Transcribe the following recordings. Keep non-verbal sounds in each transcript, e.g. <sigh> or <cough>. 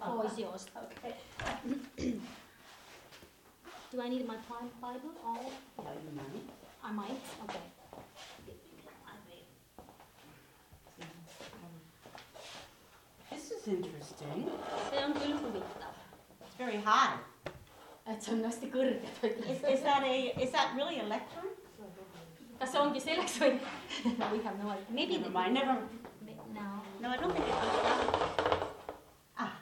always yours. Okay. Do I need my pli- Bible or No, you might. I might? Okay. This is interesting. They are good for me. It's very high. Se on hästi kõrge Is, is that a, is that really a lectern? kas see ongi selleks või We have no idea. Maybe Never mind, never, Me- no. no, I don't think it goes down. Ah.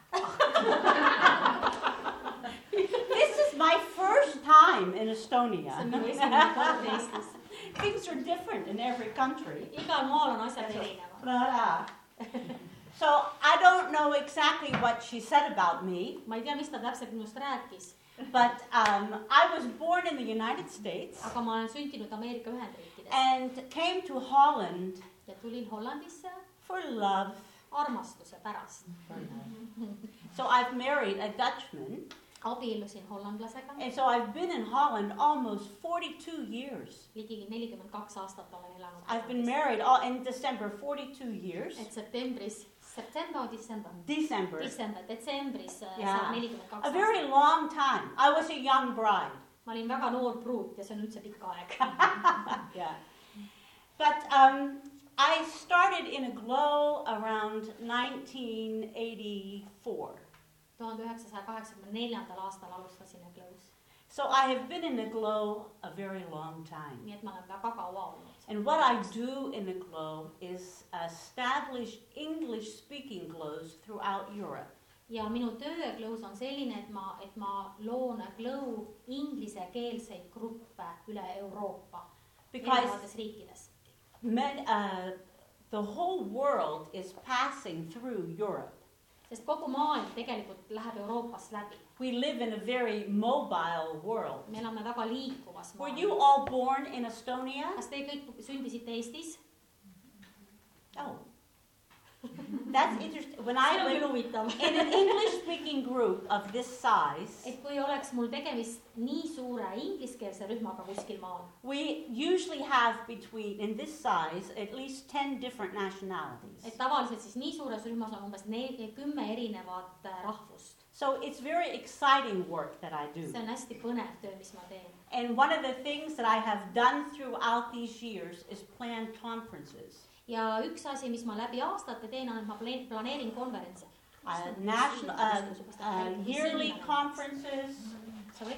<laughs> This is my first time in see Estonia. on esimene kord Eestis <laughs> Things are different in every country. igal maal on asjad erinevad But, uh, so I don't know exactly what she said about me, ma ei tea mis ta täpselt minust rääkis but um, I was born in the United States aga ma olen sündinud Ameerika Ühendriikides and came to Holland ja tulin Hollandisse for love. armastuse pärast So I've married a Dutchman, abiellusin hollandlasega and so I've been in Holland almost 42 years. ligi nelikümmend kaks aastat olen elanud I've been married all in December 42 years. et septembris september december December. december detsembris äh, Jaa. saab nelikümmend kaks A aastat very long time. I was a young bride. ma olin väga noor pruut ja see on üldse pikk <laughs> aeg Yeah. But um, I started in a glow around 1984. tuhande üheksasaja kaheksakümne neljandal aastal alustasin Eglõus So I have been in a glow a very long time. nii et ma olen väga kaua olnud And what I do in a glow is establish English speaking glows throughout Europe. ja minu töö Glõus on selline, et ma, et ma loon Glõu inglisekeelseid gruppe üle Euroopa Because erinevates riikides . men, uh, the whole world is passing through Europe. sest kogu maailm tegelikult läheb Euroopast läbi . We live in a very mobile world. me elame väga liikuvas Were you maailmas . all born in Estonia? kas te kõik sündisite Eestis ? Oh. That's interesting. When see I on küll went huvitav . in an English speaking group of this size, et kui oleks mul tegemist nii suure ingliskeelse rühmaga kuskil maal , we usually have between, in this size, at least 10 different et nationalities. tavaliselt siis nii suures rühmas on umbes nel- , kümme erinevat äh, rahvust . So it's very exciting work that I do. see on hästi põnev töö , mis ma teen . And one of the things that I have done throughout these years is plan conferences, ja üks asi , mis ma läbi aastate teen , on , et ma pla- planeerin konverentse . uh, national, uh, uh, yearly conferences.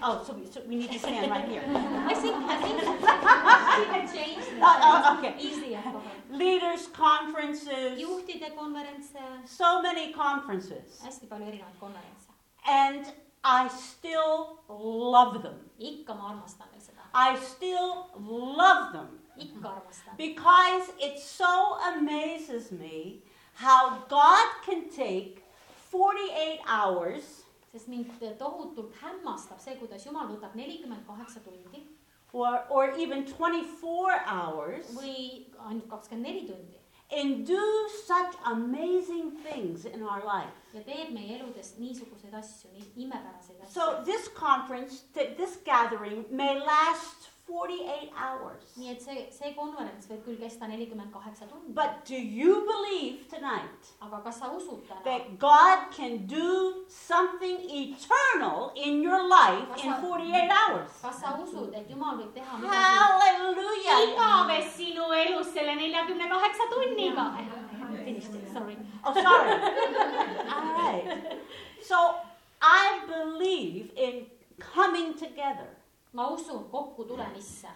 Oh, so we, so we need to stand right here. <laughs> I think , I think we can change <laughs> Oh, oh, that okay. easy . Leaders' conferences. juhtide konverentse , So many conferences. hästi palju erinevaid konverentse . and I still love them. ikka ma armastan veel seda , I still love them ikka armastan . because it so amazes me how God can take 48 hours sest mind tohutult hämmastab see , kuidas Jumal võtab nelikümmend kaheksa tundi or, or even 24 hours või ainult kakskümmend neli tundi and do such amazing things in our life. ja teeb meie eludes niisuguseid asju , nii imepäraseid asju . So, this conference, th- this gathering, may last 48 hours. nii et see , see konverents võib küll kesta nelikümmend kaheksa tundi . But do you believe tonight? aga kas sa usud täna ? that God can do something eternal in your life in 48 hours. kas sa usud , et Jumal võib teha midagi Hallelujah. igavest sinu elus selle neljakümne kaheksa tunniga ? Sorry . Oh, sorry. All right. So I believe in coming together. ma usun kokkutulemisse ,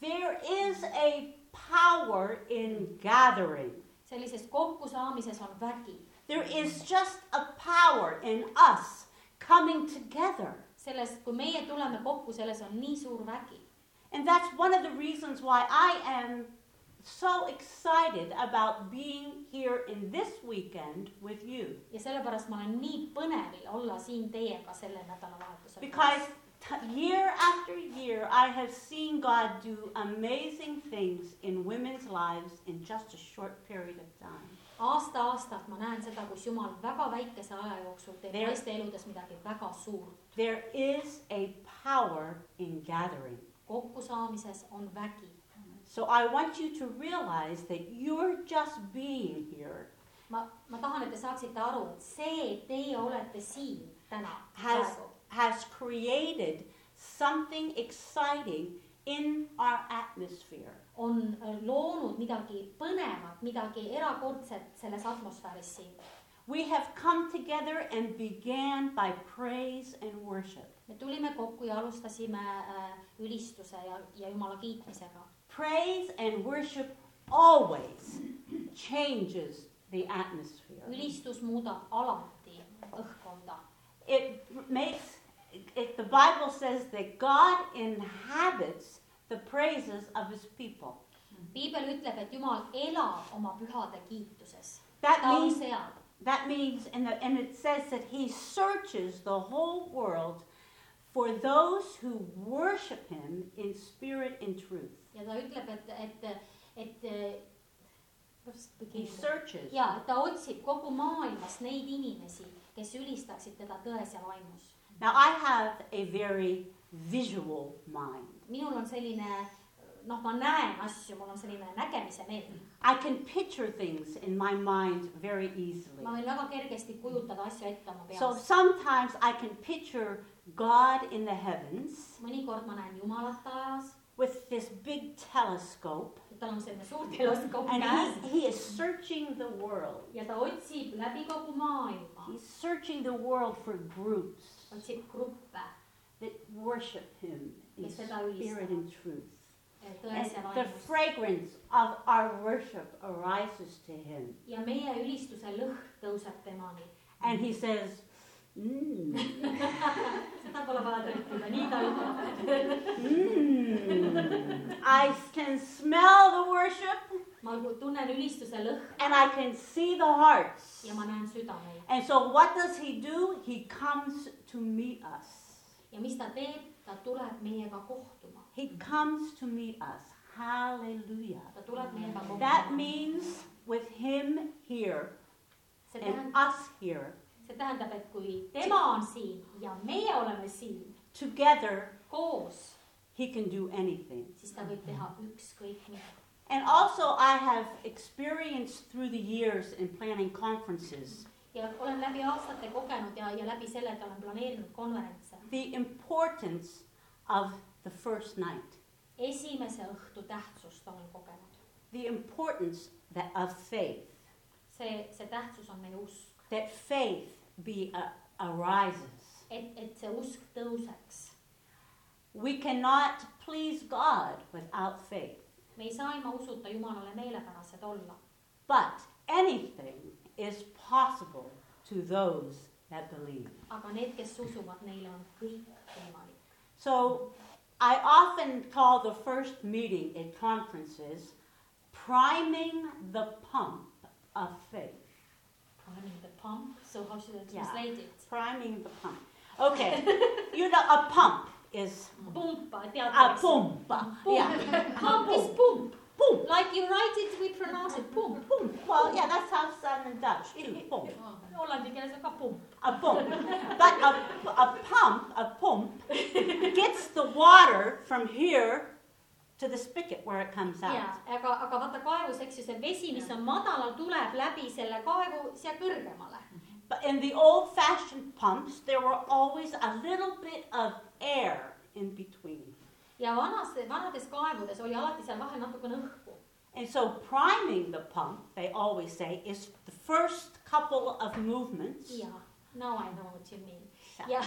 There is a power in gathering. sellises kokkusaamises on vägi , There is just a power in us coming together. selles , kui meie tuleme kokku , selles on nii suur vägi And that's one of the reasons why I am so excited about being here in this weekend with you. ja sellepärast ma olen nii põnevil olla siin teiega sellel Because nädalavahetusel . t- year after year, I have seen God do amazing things in women's lives in just a short period of time. aasta-aastalt ma näen seda , kus Jumal väga väikese aja jooksul teeb There- naiste eludes midagi väga suurt . There is a power in gathering. kokkusaamises on vägi So I want you to realize that you're just being here ma , ma tahan , et te saaksite aru , et see , et teie olete siin täna , Has- praegu , has created something exciting in our atmosphere. on äh, loonud midagi põnevat , midagi erakordset selles atmosfääris siin . We have come together and began by praise and worship. me tulime kokku ja alustasime äh, ülistuse ja , ja Jumala kiitmisega . Praise and worship always changes the atmosphere. ülistus muudab alati õhkkonda . It makes, it, the Bible says that God inhabits the praises of his people. piibel ütleb , et Jumal elab oma pühade kiituses . That ta on means seal That means, and, the, and it says that he searches the whole world for those who worship him in spirit and truth. ja ta ütleb , et , et , et , eh, He et searches. ja et ta otsib kogu maailmas neid inimesi , kes ülistaksid teda tões ja vaimus . Now, I have a very visual mind. minul on selline , noh , ma näen asju , mul on selline nägemise meel . I can picture things in my mind very easily. ma võin väga kergesti kujutada asju ette oma So peas . sometimes I can picture God in the heavens mõnikord ma näen Jumalat taevas , with this big telescope, tal on selline suur teleskoop and käes he, he is searching the world. ja ta otsib läbi kogu maailma , He's searching the world for groups otsib gruppe that worship him in Kes teda ülistavad. spirit and truth. And tões eh, ja the vaimus fragrance of our worship arises to him. ja meie ülistuse lõhn tõuseb temani . <laughs> And he says, Mmm, seda pole vaja tõlkida , nii ta ütleb . <laughs> mmm. I can smell the worship ma tunnen ülistuse lõhn and I can see the hearts. ja ma näen südameid And so, what does he do? He comes to meet us. ja mis ta teeb , ta tuleb meiega kohtuma , He comes to meet us. Hallelujah. ta tuleb meiega That kohtuma . means with him here see and tähendab , us here, see tähendab , et kui tema on siin ja meie oleme siin together, koos , he can do anything. siis ta võib teha ükskõik mida . And also, I have experienced through the years in planning conferences ja olen läbi aastate kogenud ja , ja läbi selle , et olen planeerinud konverentse . the importance of the first night, esimese õhtu tähtsust olen kogenud . the importance that of faith, see , see tähtsus on meie usk , that faith be uh, arises. et , et see usk tõuseks . We cannot please God without faith, me ei saa ilma usuta Jumalale meelepärased olla , but anything is possible to those that believe. aga need , kes usuvad , neile on kõik võimalik . So I often call the first meeting at conferences priming the pump of faith. Priming the pump , so how should I Yeah. translate it ? Priming the pump. Okay, you know, a pump is Mm. pumpa , a tead ? pump. Yeah, pump is pump , pump. like you write it , we pronounce it pump . Pump. Well, yeah, that's how it's done in Dutch too. Pump. <laughs> Hollandi keeles on ka pump . A pump. But a, a pump, a pump, gets the water from here to the spigot where it comes out. jaa , aga , aga vaata kaevus , eks ju , see vesi , mis on madalal , tuleb läbi selle kaevu siia kõrgemale . But in the old fashioned pumps, there were always a little bit of air in between. ja vanas , vanades kaevudes oli alati seal vahel natukene õhku And so, priming the pump, they always say, is the first couple of movements. jaa , now I know what you mean . ja ,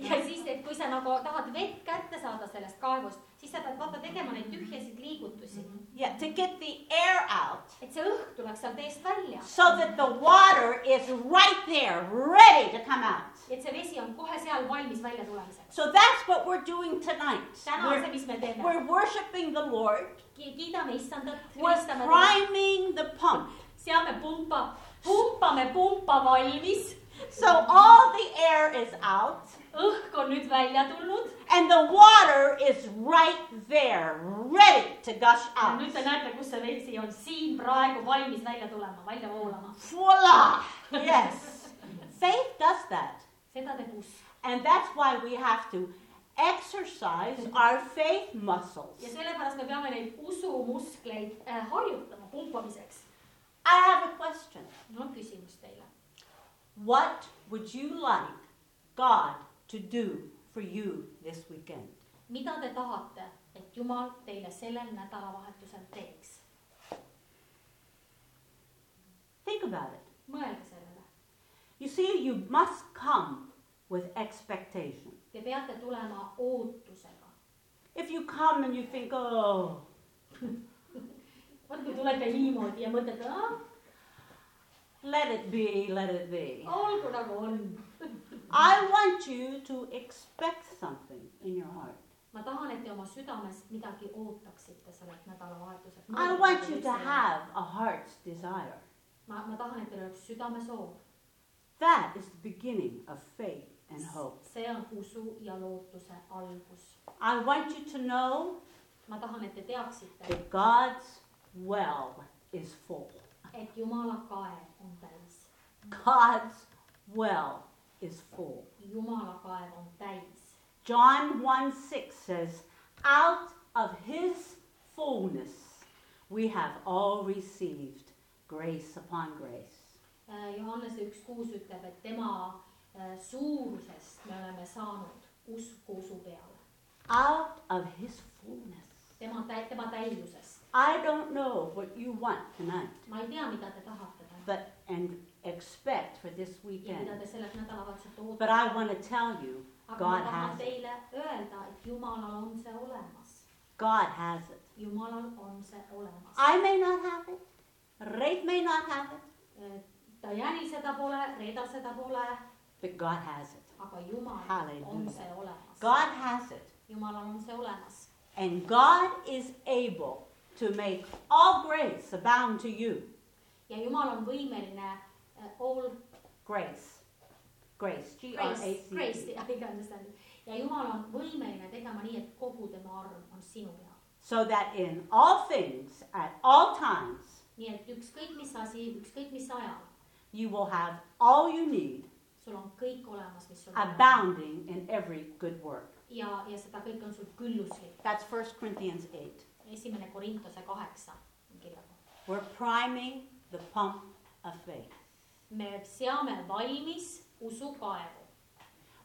ja siis , et kui sa nagu tahad vett kätte saada sellest kaevust , siis sa pead vaata tegema neid tühjasid liigutusi , Yeah, to get the air out et see õhk tuleks sealt eest välja , so that the water is right there, ready to come out. et see vesi on kohe seal valmis välja tulemiseks . So, that's what we're doing tonight. täna on We're, see , mis me teeme , we're worshiping the Lord, kiidame issandat , we're ülistame teda , priming the pump. seame pumpa , pumpame pumpa valmis , So, all the air is out. õhk on nüüd välja tulnud And the water is right there, ready to gush ja out. nüüd te näete , kus see vesi on siin praegu valmis välja tulema , välja voolama . Voila! Yes. Faith does that. seda teeb usk And that's why we have to exercise our faith muscles. ja sellepärast me peame neid usumuskleid äh, harjutama pumpamiseks . I have a question. mul on küsimus teile . What would you like God to do for you this weekend? mida te tahate , et Jumal teile sellel nädalavahetusel teeks ? Think about it. mõelge sellele . You see, you must come with expectation. Te peate tulema ootusega . If you come and you think, oh, vot kui tulete niimoodi ja mõtlete , let it be, let it be. olgu nagu on . I want you to expect something in your heart. ma tahan , et te oma südames midagi ootaksite sellelt nädalavahetuselt . I want you to have a heart's desire. ma , ma tahan , et teil oleks südamesoov . That is the beginning of faith and hope. see on usu ja lootuse algus . I want you to know ma tahan , et te teaksite , that God's well is full. et Jumala kae on täis . God's well is full. Jumala kaev on täis John 1 6 says, Out of his fullness we have all received grace upon grace. Äh, Johannese üks kuus ütleb , et tema äh, suurusest me oleme saanud usku usu peale , Out of his fullness. tema tä- , tema täiusest . I don't know what you want tonight, ma ei tea , mida te tahate täna but and expect for this ja mida weekend. te sellelt nädalavahetuselt But ootate , I want to tell you, aga ma God tahan has it. teile öelda , et Jumalal on see olemas . God has it. Jumalal on see olemas . I may not have it. Rafe may not have it, ta Jänil seda pole , Reedal seda pole , but God has it. aga Jumal Halleluuja. on see olemas . God has it. Jumalal on see olemas And God is able to make all grace abound to you. ja Jumal on võimeline äh, all Grace. Grace. G R A Grace , C Grace E. <laughs> ja iganes ta on . ja Jumal on võimeline tegema nii , et kogu tema arm on sinu peal . So that in all things, at all times, nii et ükskõik mis asi , ükskõik mis ajal , you will have all you need, sul on kõik olemas , mis sul on . abounding in every good work. ja , ja seda kõike on sul külluslik . That's 1 Corinthians 8. esimene Korintuse kaheksa on kirja kohta . We're priming the pump of faith. me seame valmis usukaevu .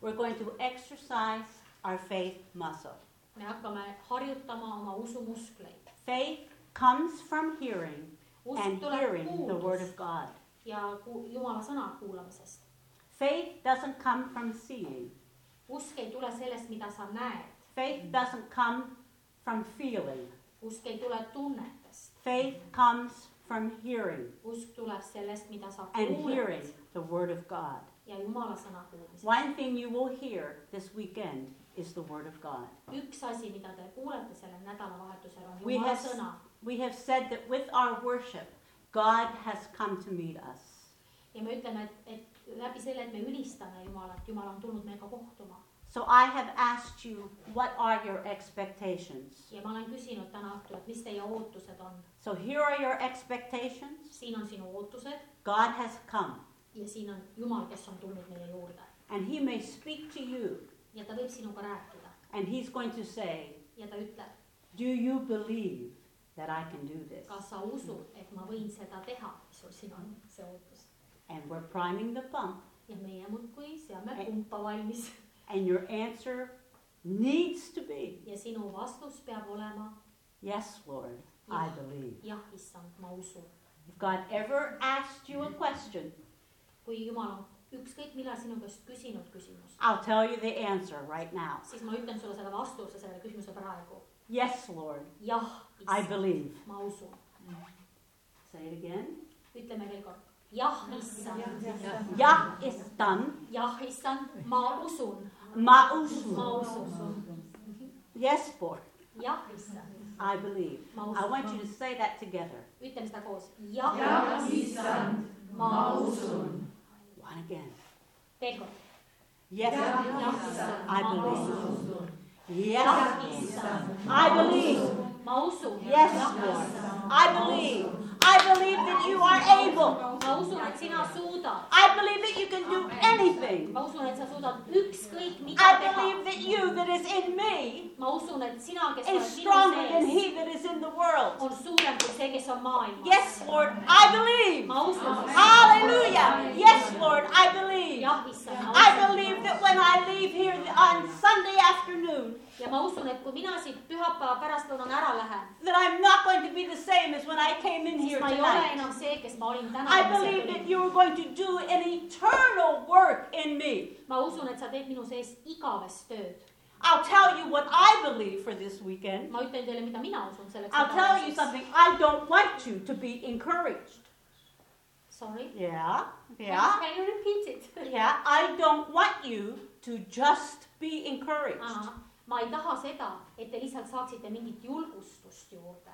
We're going to exercise our faith muscle. me hakkame harjutama oma usumuskleid . Faith comes from hearing usk and tuleb hearing the Word kuulus of God. ja ku- Jumala sõna kuulamisest . Faith doesn't come from seeing, usk ei tule sellest , mida sa näed . faith doesn't come from feeling, usk ei tule tunnetest . faith comes from hearing usk tuleb sellest , mida sa and hearing kuuled the Word of God. ja Jumala sõna kuulmisest . One thing you will hear this weekend is the Word of God. üks asi , mida te kuulete sellel nädalavahetusel , on We Jumala have- sõna . We have said that with our worship, God has come to meet us. ja me ütleme , et , et läbi selle , et me ülistame Jumalat , Jumal on tulnud meiega kohtuma . So I have asked you, what are your expectations? ja ma olen küsinud täna õhtul , et mis teie ootused on . So here are your expectations. siin on sinu ootused God has come, ja siin on Jumal , kes on tulnud meie juurde and He may speak to you, ja ta võib sinuga rääkida and He's going to say, ja ta ütleb , Do you believe that I can do this? kas sa usud , et ma võin seda teha , mis sul siin on , see ootus . And we're priming the pump, ja meie muudkui seame pumpa valmis and your answer needs to be, ja sinu vastus peab olema Yes, Lord, I believe. jah , issand , ma usun . If God ever asked you a question, kui Jumal on ükskõik millal sinu käest küsinud küsimust , I'll tell you the answer right now. siis ma ütlen sulle selle vastuse sellele küsimusele praegu . Yes, Lord, jah , I issand , believe. ma usun . Say it again. ütleme veel kord , jah , issand , Yah is done. jah , issand , ma usun , ma Ma'usu. usun . Yes, Lord, jah , issand , I believe. ma I want usun . you to say that together. ütleme seda koos , jah , Jah, issand, ma usun . One again. veel kord , Yes, jah , issand , I ma believe. usun . Yes, jah , issand , I believe. ma usun . Yes, jah , Lord. issand , I believe. I believe that you are able. ma usun , et sina suudad . I believe that you can do anything. ma usun , et sa suudad ükskõik mida I teha . believe that you that is in me ma usun , et sina , kes is oled stronger minu than sees , he that is in the world. on suurem kui see , kes on maailmas . Yes, Lord, I believe. ma usun . Hallelujah. Yes, Lord, I believe. jah , issand , ma I usun . believe that when I leave here on Sunday afternoon, ja ma usun , et kui mina siit pühapäeva pärastlõunal ära lähen , that I'm not going to be the same as when I came in here siis ma ei ole tonight. enam see , kes ma olin I believe täna that。you are going to do an eternal work in me. ma usun , et sa teed minu sees igavest tööd . I'll tell you what I believe for this weekend. ma ütlen teile , mida mina usun selleks . I'll tell you something. I don't want you to be encouraged. Sorry . Yeah, yeah, Can you repeat it ? <laughs> yeah. I don't want you to just be encouraged. ma ei taha seda , et te lihtsalt saaksite mingit julgustust juurde .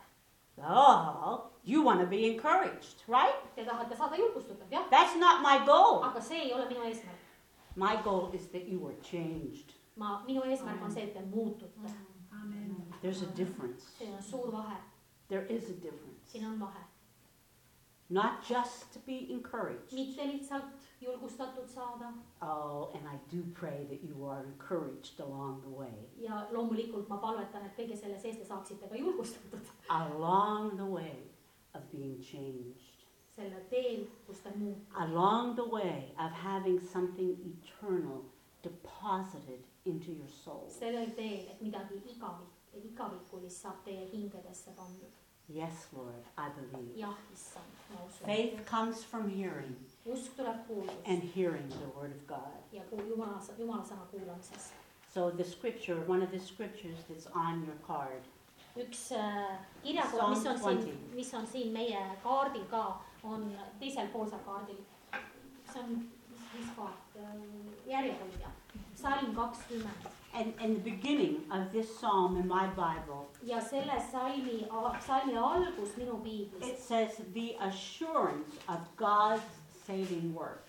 Oh, you want to be encouraged, right? Te tahate saada julgustatud , jah , That's not my goal. aga see ei ole minu eesmärk . My goal is that you are changed. ma , minu eesmärk on see , et te muutute . There's a difference. siin on suur vahe , There is a difference. siin on vahe . Not just to be encouraged. mitte lihtsalt julgustatud saada Oh, and I do pray that you are encouraged along the way. ja loomulikult ma palvetan , et kõige selle sees te saaksite ka julgustatud <laughs> Along the way of being changed. selle teel , kus te muutute . Along the way of having something eternal deposited into your soul. sellel teel , et midagi igavik , igavikulist saab teie hingedesse pandud . Yes, Lord, I believe. jah , issand , ma usun . Faith comes from hearing usk tuleb and kuuldust hearing the word of God. ja kuul- jumala , jumala sõna kuulamises . So the scripture, one of the scriptures that's on your card, üks äh, kirjakoht , mis on Psalm siin 20. , mis on siin meie kaardil ka , on teisel poolsel kaardil . see on , mis koht , järjehoidja , salm kakskümmend and, and the beginning of this psalm in my Bible, ja selle salmi , salmi algus minu piiblis it says the assurance of God's saving work.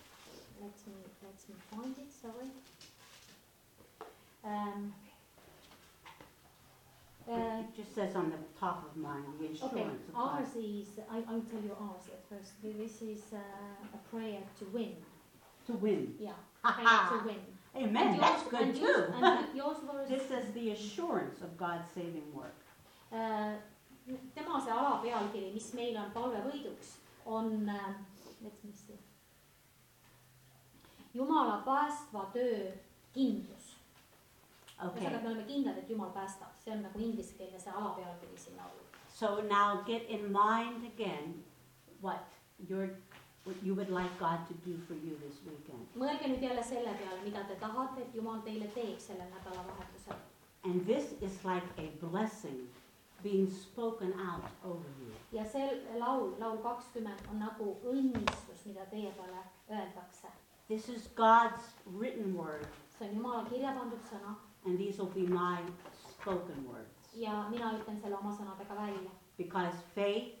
Let me, let me find it, sorry. Um, uh, It just says on the top of mine, the okay, assurance of ours God's. is, I, I'll tell you ours at first. Th- This is uh, a prayer to win. To win. Yeah, prayer to Aha. win. And Amen, that's yours- good and yours- too. <laughs> And uh, yours was, This says the assurance of God's saving work. uh, tema see alapealkiri , mis meil on palvevõiduks , on uh, , let me see , Jumala päästva töö kindlus Okay, ühesõnaga , me oleme kindlad , et Jumal päästab , see on nagu ingliskeelne see alapealkiri sinna olnud . so now get in mind again what your, what you would like God to do for you this weekend. mõelge nüüd jälle selle peale , mida te tahate , et Jumal teile teeb sellel nädalavahetusel . And this is like a blessing being spoken out over you. ja see laul , laul kakskümmend on nagu õnnistus , mida teie peale öeldakse . This is God's written word, see on Jumala kirja pandud sõna and these will be my spoken words. ja mina ütlen selle oma sõnadega välja , Because faith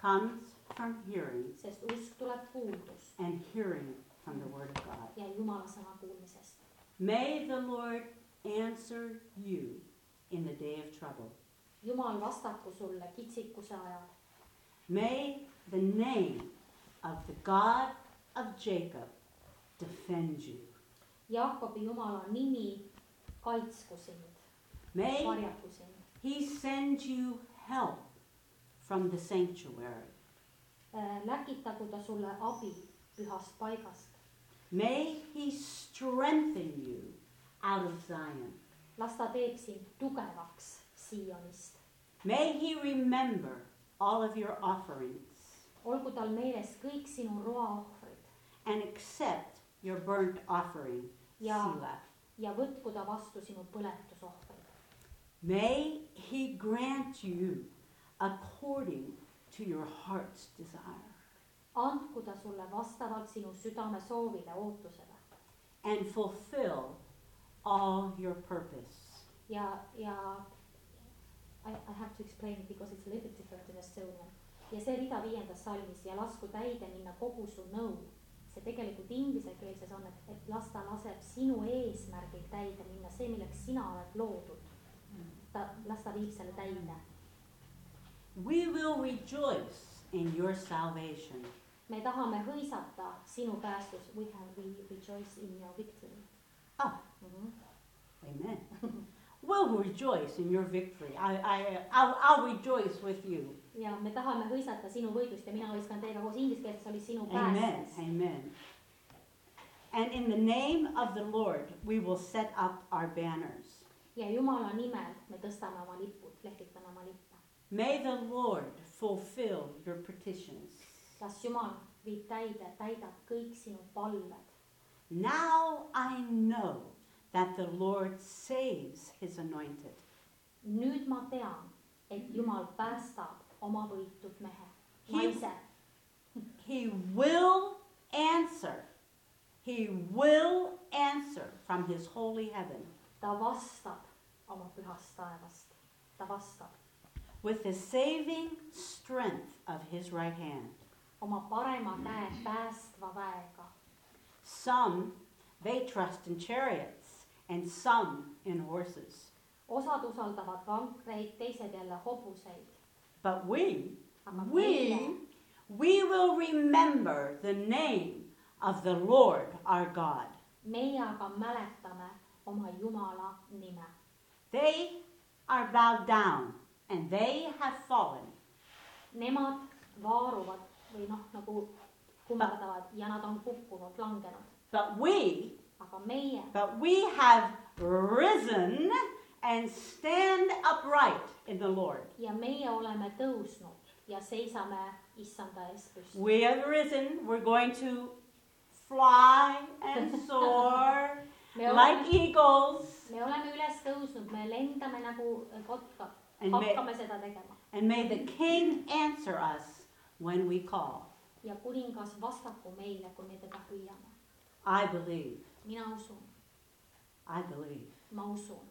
comes from hearing, sest usk tuleb kuuldust and hearing from the word of God. ja Jumala sõna kuulmisest . May the Lord answer you in the day of trouble. Jumal vastaku sulle kitsikuse ajal . May the name of the God of Jacob defend you. Jaakobi Jumala nimi kaitsku sind , May varjaku sind . He sends you help from the sanctuary. Äh, läkitagu ta sulle abi pühast paigast , May he strengthen you out of Zion. las ta teeb sind tugevaks Siionist . May he remember all of your offerings olgu tal meeles kõik sinu roaohvrid and accept your burnt offering, Ja. Selah. ja võtku ta vastu sinu põletusohvrid . May he grant you according to your heart's desire. andku ta sulle vastavalt sinu südame soovile , ootusele And fulfill all your purpose. ja , ja I, I have to explain it because it's a little bit different in Estonian . ja see rida viiendas salmis ja lasku täide minna kogu su nõu . see tegelikult inglisekeelses on , et , et las ta laseb sinu eesmärgil täide minna , see , milleks sina oled loodud . ta , las ta viib selle täide We will rejoice in your salvation. me tahame hõisata sinu päästus , we can re- rejoice in your victory Ah, mm . -hmm. amen. <laughs> We'll rejoice in your victory. I, I, I'll, I'll rejoice with you. ja me tahame hõisata sinu võidust ja mina hõiskan teiega koos inglise keeles oli sinu Amen. päästus . Amen. And in the name of the Lord, we will set up our banners. ja Jumala nimel me tõstame oma lipud , lehvitame oma lippe . May the Lord fulfill your petitions. las Jumal viib täide , täidab kõik sinu palved . Now I know that the Lord saves his anointed. nüüd ma tean , et Jumal päästab oma võitud mehe , He- naise . He will answer. He will answer from his holy heaven ta vastab oma pühast taevast , ta vastab with the saving strength of his right hand. oma parema käe päästva väega . Some they trust in chariots and some in horses. osad usaldavad vankreid , teised jälle hobuseid . But we, aga we, meie we will remember the name of the Lord our God. meie aga mäletame oma Jumala nime . They are bowed down and they have fallen, Nemad vaaruvad või noh , nagu kummardavad ja nad on kukkunud , langenud , but we, aga meie , but we have risen and stand upright in the Lord. ja meie oleme tõusnud ja seisame issanda ees püsti . We have risen. We're going to fly and soar me like oleme , eagles me oleme üles tõusnud , me lendame nagu kotkad , and may, hakkame seda tegema and may the King answer us when we call. ja kuningas vastaku meile , kui me teda püüame . I believe. mina usun , I believe ma usun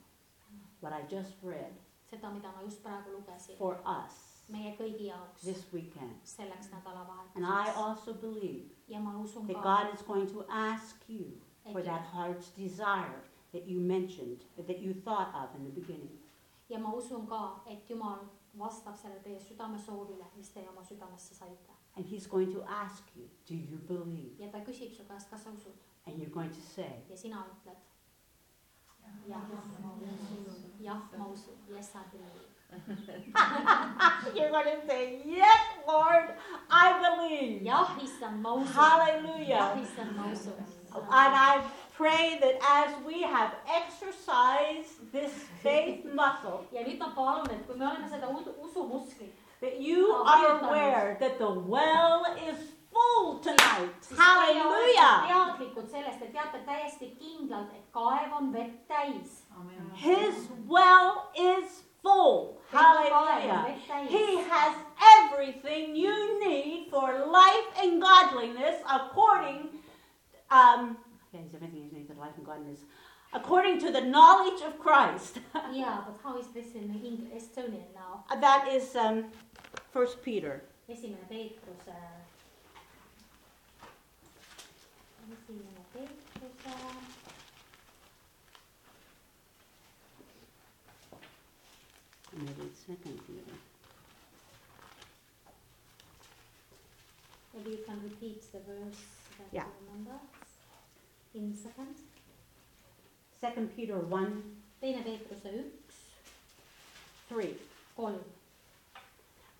what I just read seda , mida ma just praegu lugesin for us meie kõigi jaoks this weekend. selleks And I nädalavahetuseks also believe ja ma usun that ka , God is going to ask you for et that heart's desire that you mentioned, that you thought of in the beginning. ja ma usun ka , et Jumal vastab sellele teie südamesoovile , mis te oma südamesse saite And He's going to ask you, Do you believe? ja ta küsib su käest , kas sa usud And you're going to say, ja sina ütled . jah , jah , ma usun , yes I believe . You're going to say, Yes, Lord, I believe. jah , issand , ma usun . jah , Hallelujah. issand , ma usun . And I pray that as we have exercised this faith muscle, ja nüüd ma palun , et kui me oleme seda usu , usumusklit , that you Oh, are yes, aware that the well is full tonight. siis teie olete Hallelujah. teadlikud sellest ja teate täiesti kindlalt , et kaev on vett täis . His well is full. Hallelujah. He has everything you need for life and godliness according um yeah, he's everything you need for life and godliness according to the knowledge of Christ. <laughs> Yeah, but how is this in English, Estonian now? that is um first Peter. esimene Peetruse . esimene Peetruse . Maybe it's second Peter. Maybe you can repeat the verse that Yeah. you remember in second . Second Peter one teine Peetruse üks , three. kolm .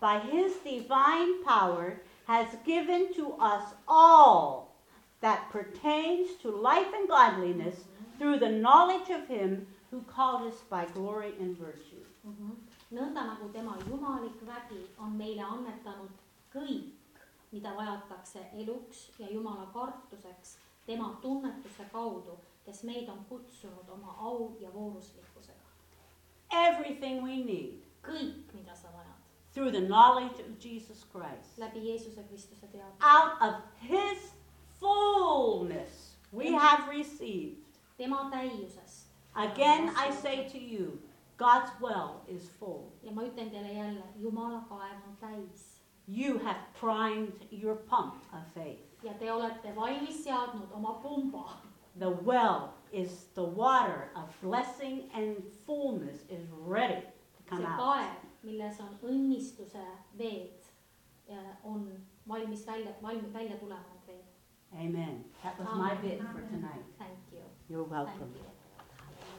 by his divine power has given to us all that pertains to life and godliness through the knowledge of him who called us by glory and virtue. Mhm. nõnda nagu tema jumalik vägi on meile annetanud kõik , mida vajatakse eluks ja Jumala kartuseks tema tunnetuse kaudu , kes meid on kutsunud oma au ja vooruslikkusega . Everything we need kõik , mida sa vajad through the knowledge of Jesus Christ. läbi Jeesuse Kristuse teadmise , Out of his fullness we have received. tema täiusest . Again, I say to you, God's well is full. ja ma ütlen teile jälle , Jumala kaev on täis You have primed your pump of faith. ja te olete valmis seadnud oma pumba The well is the water of blessing and fullness is ready to come see out. kaev , milles on õnnistuse veed , on valmis välja , valmis välja tulema , Andrei . Amen. That was my bit for Amen. tonight. Thank you , You're thank welcome. you .